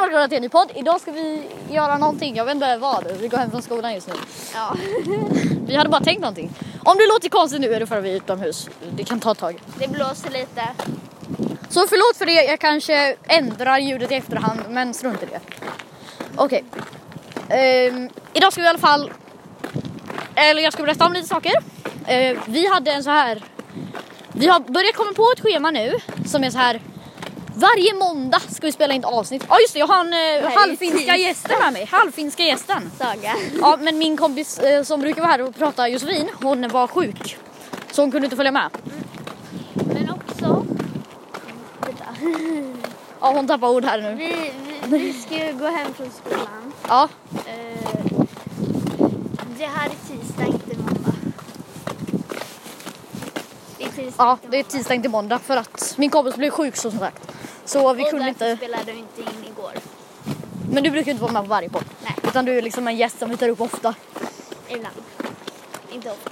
välkomna till en ny podd. Idag ska vi göra någonting, jag vet inte vad. Vi går hem från skolan just nu. Ja, Vi hade bara tänkt någonting. Om det låter konstigt nu är det för att vi är utomhus. Det kan ta ett tag. det blåser lite. Så förlåt för det, jag kanske ändrar ljudet i efterhand men strunt i det. Okej. Ehm, idag ska vi i alla fall... Eller jag ska berätta om lite saker. Ehm, vi hade en så här... Vi har börjat komma på ett schema nu som är så här... Varje måndag ska vi spela in ett avsnitt. Ja just det, jag har en eh, är halvfinska tis. gästen med mig. Halvfinska gästen. Saga. Ja, men min kompis eh, som brukar vara här och prata Josefin, hon var sjuk. Så hon kunde inte följa med. Men också, vänta. Ja, hon tappar ord här nu. Vi, vi, vi ska ju gå hem från skolan. Ja, Eh, Det här är tisdag, inte måndag. Det är tisdag, ja, inte det är måndag. tisdag inte måndag för att min kompis blev sjuk så som sagt. Så vi Och kunde därför inte, spelade du inte in igår. men du brukar ju inte vara med på varje podd. Nej. Utan du är liksom en gäst som vi tar upp ofta. Ibland. Inte ofta.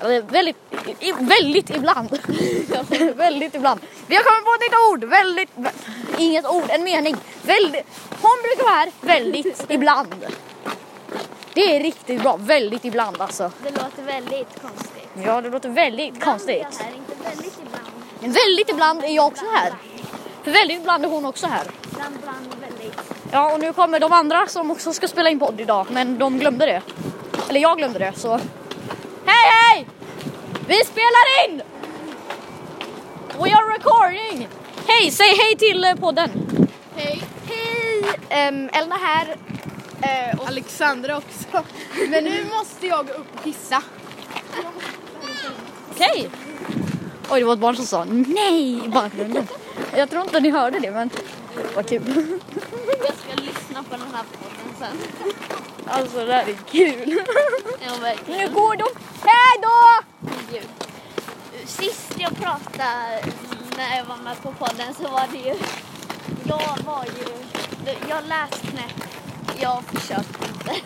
Eller väldigt, i- i, väldigt ibland. väldigt ibland. Vi har kommit på ett nytt ord, väldigt, vä- inget ord, en mening. Väldigt, hon brukar vara här väldigt ibland. Det är riktigt bra, väldigt ibland alltså. Det låter väldigt konstigt. Ja, det låter väldigt Ibland konstigt. är jag här, inte väldigt ibland. Men väldigt ibland är jag också Ibland, här. För väldigt ibland är hon också här. Ibland, ibland, väldigt. Ja, och nu kommer de andra som också ska spela in podd idag, men de glömde det. Eller jag glömde det, så... Hej, hej! Vi spelar in! We are recording! Hej, säg hej till eh, podden. Hej! Hej! Ehm, Um, Elna här. Eh, och Alexandra också. Men nu måste jag gå upp och pissa. Okej. Oj, det var ett barn som sa nej i bakgrunden. Jag tror inte ni hörde det, men vad kul. jag ska lyssna på den här podden sen. Alltså, det här är kul. Ja, verkligen. Nu går de. Hej då! Gud. Sist jag pratade när jag var med på podden så var det ju... Jag var ju... Jag lät knäppt. Jag försökte inte.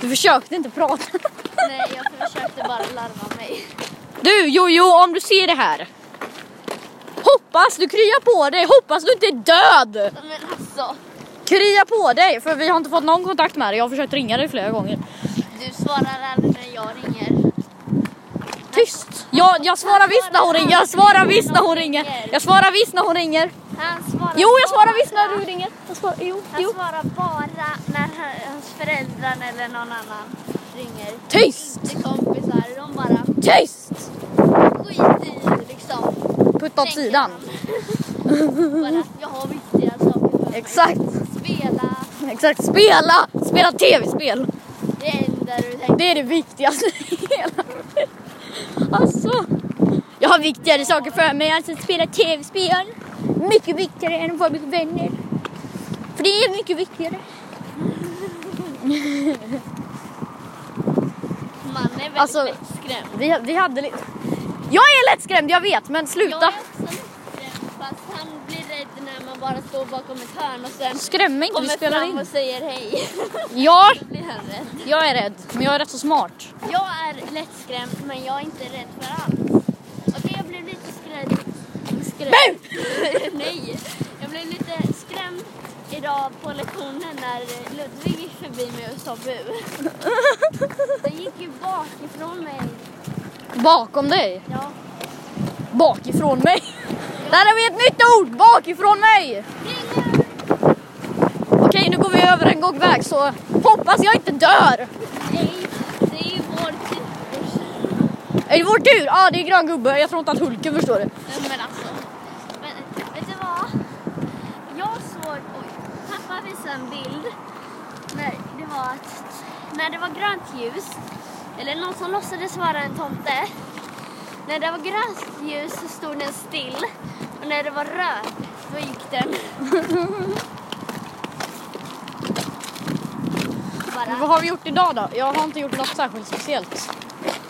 Du försökte inte prata. Nej, jag försökte bara larva mig. Du Jojo, om du ser det här. Hoppas du kryar på dig, hoppas du inte är död. Men alltså, Krya på dig, för vi har inte fått någon kontakt med dig. Jag har försökt ringa dig flera gånger. du svarar aldrig när jag ringer. Tyst! Jag, jag svarar visst när hon ringer, jag svarar visst när hon ringer. Jag svarar visst när hon ringer. Han svarar Jo, jag svarar bara- visst när du ringer. Jag svarar, jo, Han jo. svarar bara när han- hans föräldrar eller någon annan ringer. Tyst! Inte kompisar, de bara Tyst! skiter i liksom. Putta åt Tänker sidan. han. Bara att jag har viktiga saker för mig. Exakt, Spela, exakt. Spela! Spela tv-spel. det är det enda du tänker. Det är det viktigaste i hela Alltså. Jag har viktigare saker för mig. Alltså att spela tv-spel. Mycket viktigare än att vara med vänner. För det är mycket viktigare. Man är väldigt Alltså, lättskrämd. Vi, vi hade lite... Jag är lättskrämd, jag vet. Men Jag är sluta. också lättskrämd fast han blir rädd när man bara står bakom ett hörn och sen Skräm mig inte, vi kommer spelar fram in. och säger hej. Ja, Då blir han rädd. jag är rädd. Men jag är rätt så smart. Jag är lättskrämd men jag är inte rädd för allt. Okej jag blev lite skrämd. Skrämd? Nej! Jag blev lite skrämd idag på lektionen när Ludvig gick förbi mig och sa bu. Den gick ju bakifrån mig. Bakom dig. Ja. Bakifrån mig. Där har vi ett nytt ord! Bakifrån mig! Okej, nu går vi över en gång väg så hoppas jag inte dör. Nej, det är ju vår tid. Är det vår tur? Ja, det är grön gubbe. Jag tror inte att Hulken förstår det. Men alltså. Men, vet du vad? Jag såg, oj, pappa visade en bild när det var, att, när det var grönt ljus, eller någon som låtsades vara en tomte. När det var grönt ljus så stod den still och när det var röd då gick den. Vad Bara. har vi gjort idag då? Jag har inte gjort något särskilt speciellt.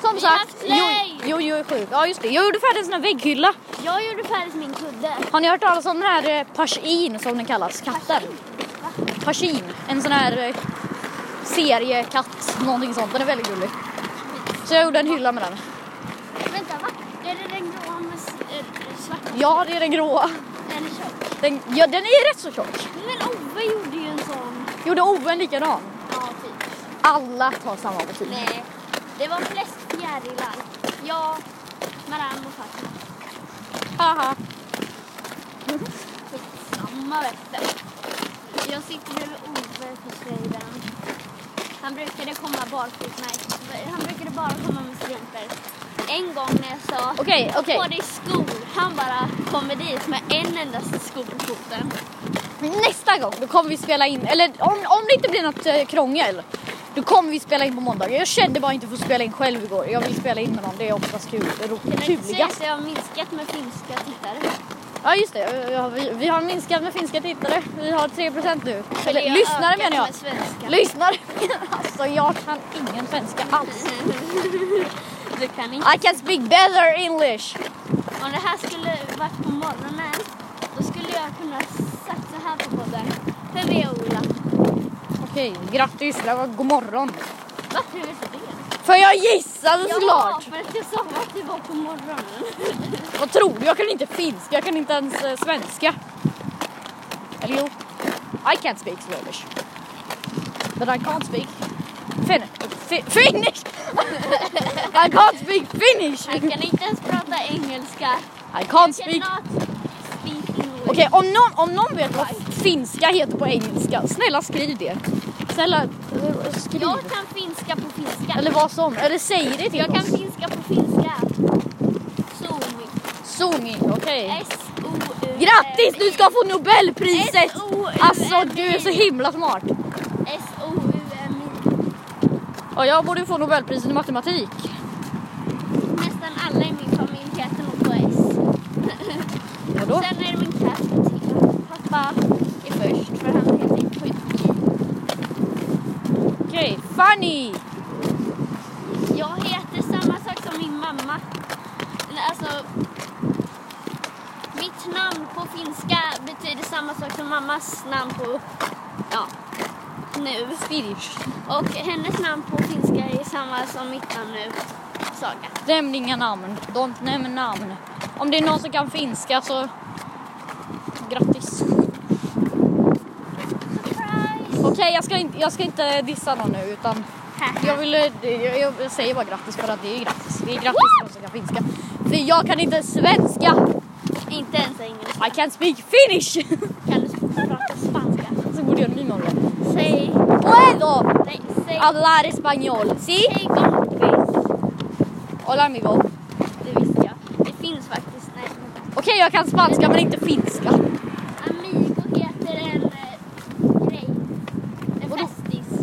Som Vi sagt, har play! jo, jo, är sjuk. Ja, just det. Jag gjorde färdigt en sån här vägghylla. Jag gjorde färdigt min kudde. Har ni hört talas om den här eh, persin som den kallas? Katten? Persin. En sån här eh, seriekatt, någonting sånt. Den är väldigt gullig. Så jag gjorde en hylla med den. Vänta, va? Är det den grå med s- eh, svart? Ja, det är den gråa. Eller tjock? Den, ja, den är rätt så tjock. Men Ove gjorde ju Gjorde Owen likadan? Ja, typ. Alla tar samma betyg. Nej, det var flest fjärilar. Jag, Maram och Fatima. Haha. Skitsamma vet du. Jag sitter bredvid Ove på slöjden. Han brukade komma barfota, nej, han brukade bara komma med strumpor. En gång när jag sa Okej, okej. på dig skor, han bara kommer dit med en enda sko på foten. Nästa gång då kommer vi spela in, eller om, om det inte blir något eh, krångel, då kommer vi spela in på måndag. Jag kände bara inte för att spela in själv igår. Jag vill spela in med någon, det är oftast kul. Det är Kan roligt. du inte säga Kuligast. att jag har minskat med finska tittare? Ja just det, Eh, Ja, vi, vi har minskat med finska tittare. Vi har 3% nu. jag Eller har lyssnare ökat menar jag. Med svenska. Lyssnare menar jag. Alltså jag kan ingen svenska alls. du kan inte. I can speak better English. Om det här skulle varit på morgonen, då skulle jag kunna sagt så här på podden. Hej vi är Ola. Okej, grattis. Det var god morgon. Varför visste du det? För jag gissade såklart. för att jag sa att det var på morgonen. Vad tror du? Jag kan inte finska, jag kan inte ens eh, svenska. Eller jo, I can't speak Swedish. But I can't speak fin fi Finnish! I can't speak Finnish! Han kan inte ens prata engelska. I can't speak... Cannot speak English. Okej, om, någon, om någon vet vad finska heter på engelska, snälla skriv det. Snälla, eh, skriv. Jag kan finska på finska. Eller vad som, eller säg det till jag kan oss. finska på finska. Zoomi. Zoomi, okej. S-O-U-M-I. Grattis, du ska få Nobelpriset! S-O-U-M-I. Alltså du är så himla smart. S-O-U-M-I. Ja, jag borde få Nobelpriset i matematik. Nästan alla i min familj heter nog på S. Vadå? Sen är det min katt. Pappa är först för han heter Skytt. Okej, funny! Jag heter samma sak som min mamma. Eller, Alltså, mitt namn på finska betyder samma sak som mammas namn på, ja, nu. Swedish. Och hennes namn på finska är samma som mitt namn nu, Saga. Nämn inga namn. Don't nämn namn. Om det är någon som kan finska så grattis. Surprise! Okej, jag, ska inte, jag ska inte dissa någon nu utan jag, vill, eh, jag, jag, jag säger bara grattis för att det är grattis. Det är grattis till någon som kan finska. För jag kan inte svenska. Inte ens engelska. I can't speak finnish. Kan du prata spanska? så borde jag nymåla. Säg, Puedo nej, säg, hablar español. Si? säg kompis. Hola amigo. Okej, Det visste jag. Det finns faktiskt, nej. jag kan spanska men inte finska. Amigo heter en eh, grej. En Vadå? festis.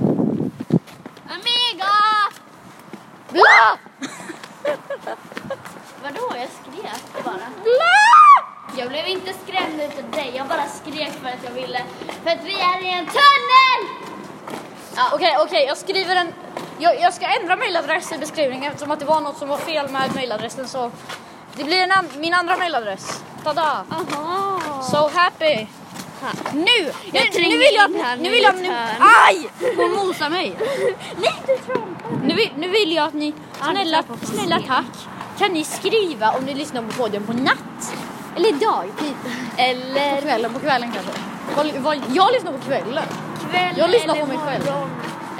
Amigo! Bla! Vadå, jag skrek bara. Bla! Jag blev inte skrämd utav dig, jag bara skrek för att jag ville. För att vi är i en tunnel! Okej, okej, jag skriver en... Jag, jag ska ändra mailadress i beskrivningen eftersom att det var något som var fel med mailadressen så... Det blir en an... min andra mailadress. Tada! Aha. So happy! Nu! Nu, tränger nu vill jag... in här nu Nu i vill jag... ett Nu, hörn. aj! Hon mosar mig. Nej, du trampar! Nu, vill- nu vill jag att ni... Ja, det Snälla, tappar på snälla scenen. tack. Kan ni skriva om ni lyssnar på podden på natt? Eller dag? På Eller kvällen, på kvällen kanske. Vad- vad- Jag lyssnar på kvällen. kväll Jag lyssnar eller på mig själv. morgon.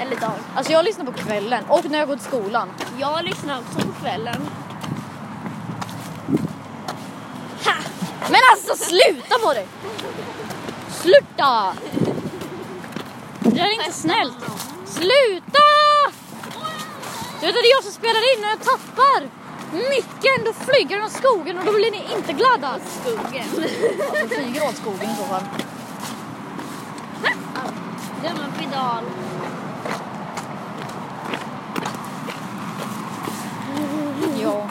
Eller dag. Alltså jag lyssnar på kvällen och när jag går till skolan. Jag lyssnar också på kvällen. Men alltså sluta på dig! Sluta! Det är inte snällt. Sluta! Du vet att det är jag som spelar in och jag tappar micken. Då flyger den åt skogen och då blir ni inte glada. Skogen. Alltså flyger åt skogen i så fall. Dumma pedal. Ja.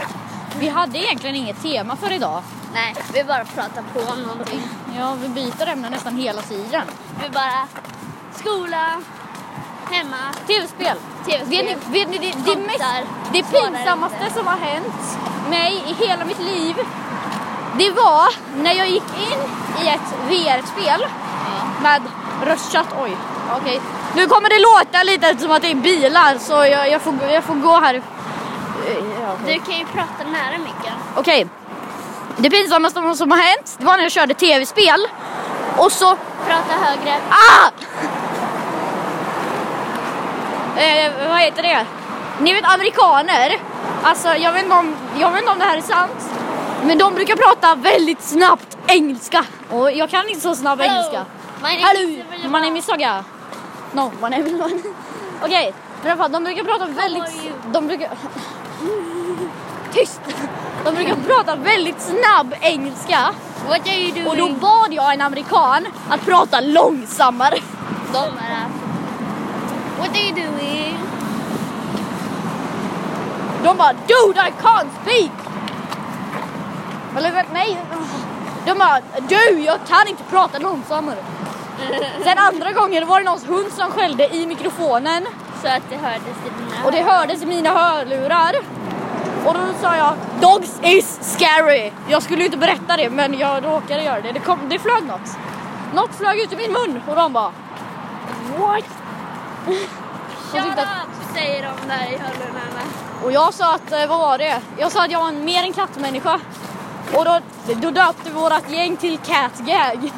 Vi hade egentligen inget tema för idag. Nej, vi bara pratar på om någonting. Ja, vi byter ämne nästan hela tiden. Vi bara skola, hemma, Tv-spel. Vet tv-spel. ni, vet ni det, det, mest, Tomtar. det Svarar pinsammaste inte. som har hänt mig i hela mitt liv, det var när jag gick in i ett VR-spel med röstchatt. Oj, okej. Nu kommer det låta lite eftersom att det är bilar så jag, jag, får, jag får gå här. Ja, okej. Du kan ju prata nära micken. Okej. Det pinsammaste som har hänt, det var när jag körde tv-spel och så Prata högre. Ah! eh, vad heter det? Ni vet amerikaner, alltså jag vet, inte om, jag vet inte om det här är sant, men de brukar prata väldigt snabbt engelska. Och jag kan inte så snabb engelska. My name Hello, is Isabella. my name is Saga. No, my name is Okej, men i alla fall, de brukar prata are väldigt... you? De brukar... Tyst! De brukar prata väldigt snabb engelska. What are you doing? Och då bad jag en amerikan att prata långsammare. de bara... What are you doing? De bara dude I can't speak! Eller vä- nej, de bara du jag kan inte prata långsammare. Sen andra gången var det någons hund som skällde i mikrofonen Så att det hördes typ i dina och det hördes i mina hörlurar. Och då sa jag dogs is scary. Jag skulle ju inte berätta det men jag råkade göra det. Det, kom, det flög något. Något flög ut i min mun och de bara what? Shut tyckte up, säger de där i hörlurarna. Och jag sa att, eh, vad var det? Jag sa att jag var en, mer en kattmänniska. Och då, då döpte vårat gäng till Catgag.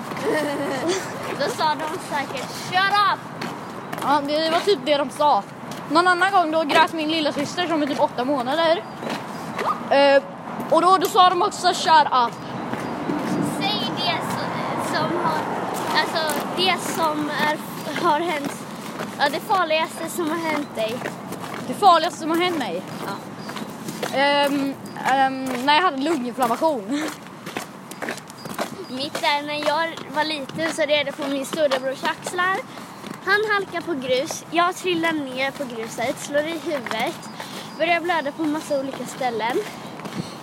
Då sa de säkert shut up. Ja, det var typ det de sa. Någon annan gång då grät min lilla syster som är typ åtta månader. Eh, och då, då sa de också shut up. Säg det som, som har, alltså det som är, har hänt, ja, det farligaste som har hänt dig. Det farligaste som har hänt mig. Ehm, ehm, när jag hade lunginflammation. Mitt där när jag var liten så red jag på min storebrors axlar. Han halkar på grus, jag trillar ner på gruset, slår i huvudet, börjar blöda på massa olika ställen.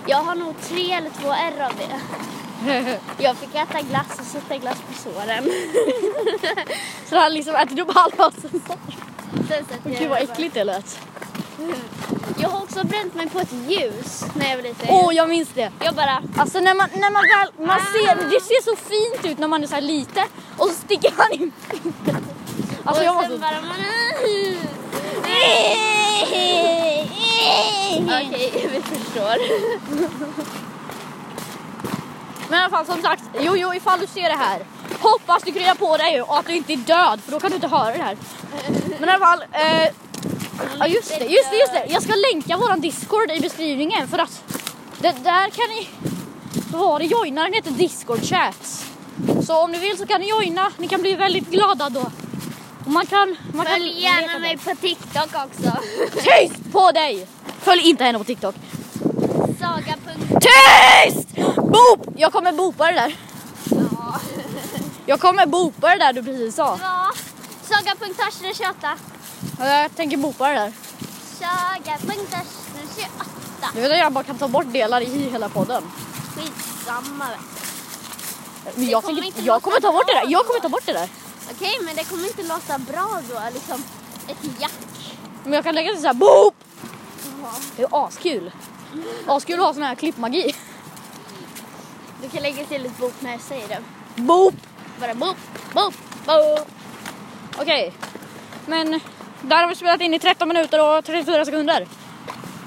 Jag har nog tre eller två ärr av det. Jag fick äta glass och sätta glass på såren. Så det hade liksom ätit upp halva och sen så. Sen satte jag Gud vad det bara. äckligt det lät. Jag har också bränt mig på ett ljus när jag var liten. Åh, jag minns det. Jag bara, Alltså när man, när man väl, man ser, det ser så fint ut när man är så här liten och så sticker man in fingret. Alltså jag och var sen så... bara man... Okej, vi förstår. Men i alla fall som sagt, jo jo ifall du ser det här. Hoppas du kryar på dig och att du inte är död för då kan du inte höra det här. Men i alla fall, eh, ja just det, just det, just det. Jag ska länka våran discord i beskrivningen för att det där kan ni... Vad var det joinaren heter? Discord chat. Så om ni vill så kan ni joina, ni kan bli väldigt glada då. Och man kan... Man kan Följ leka gärna där. mig på TikTok också. Tyst på dig! Följ inte henne på TikTok. Saga. Tyst! Boop! Jag kommer bopa det där. Ja. Jag kommer bopa det där du precis sa. Ja. Saga.Ashne28. Jag tänker bopa det där. Saga.Ashne28. Du vet att jag bara kan ta bort delar i hela podden. Skitsamma. vet du. Men jag, kommer tänker, inte jag kommer låta ta bort det bra där. Jag då. kommer ta bort det där. Okej, men det kommer inte låta bra då. Liksom ett jack. Men jag kan lägga till så här boop! Ja. Det är askul. Askul att ha sån här klippmagi. Du kan lägga till ett bok när jag säger det. Boop! Bara boop, boop, boop. Okej. Men där har vi spelat in i 13 minuter och 34 sekunder.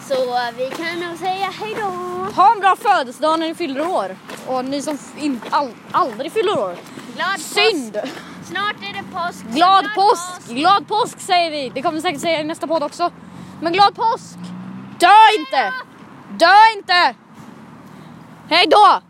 Så eh, vi kan nog säga hejdå. Ha en bra födelsedag när ni fyller år. Och ni som in, all, aldrig fyller år. Glad påsk. Synd! Snart är det påsk. Glad påsk! Glad påsk säger vi! Det kommer vi säkert säga i nästa podd också. Men glad påsk! Dö inte! Dö inte! Hej då!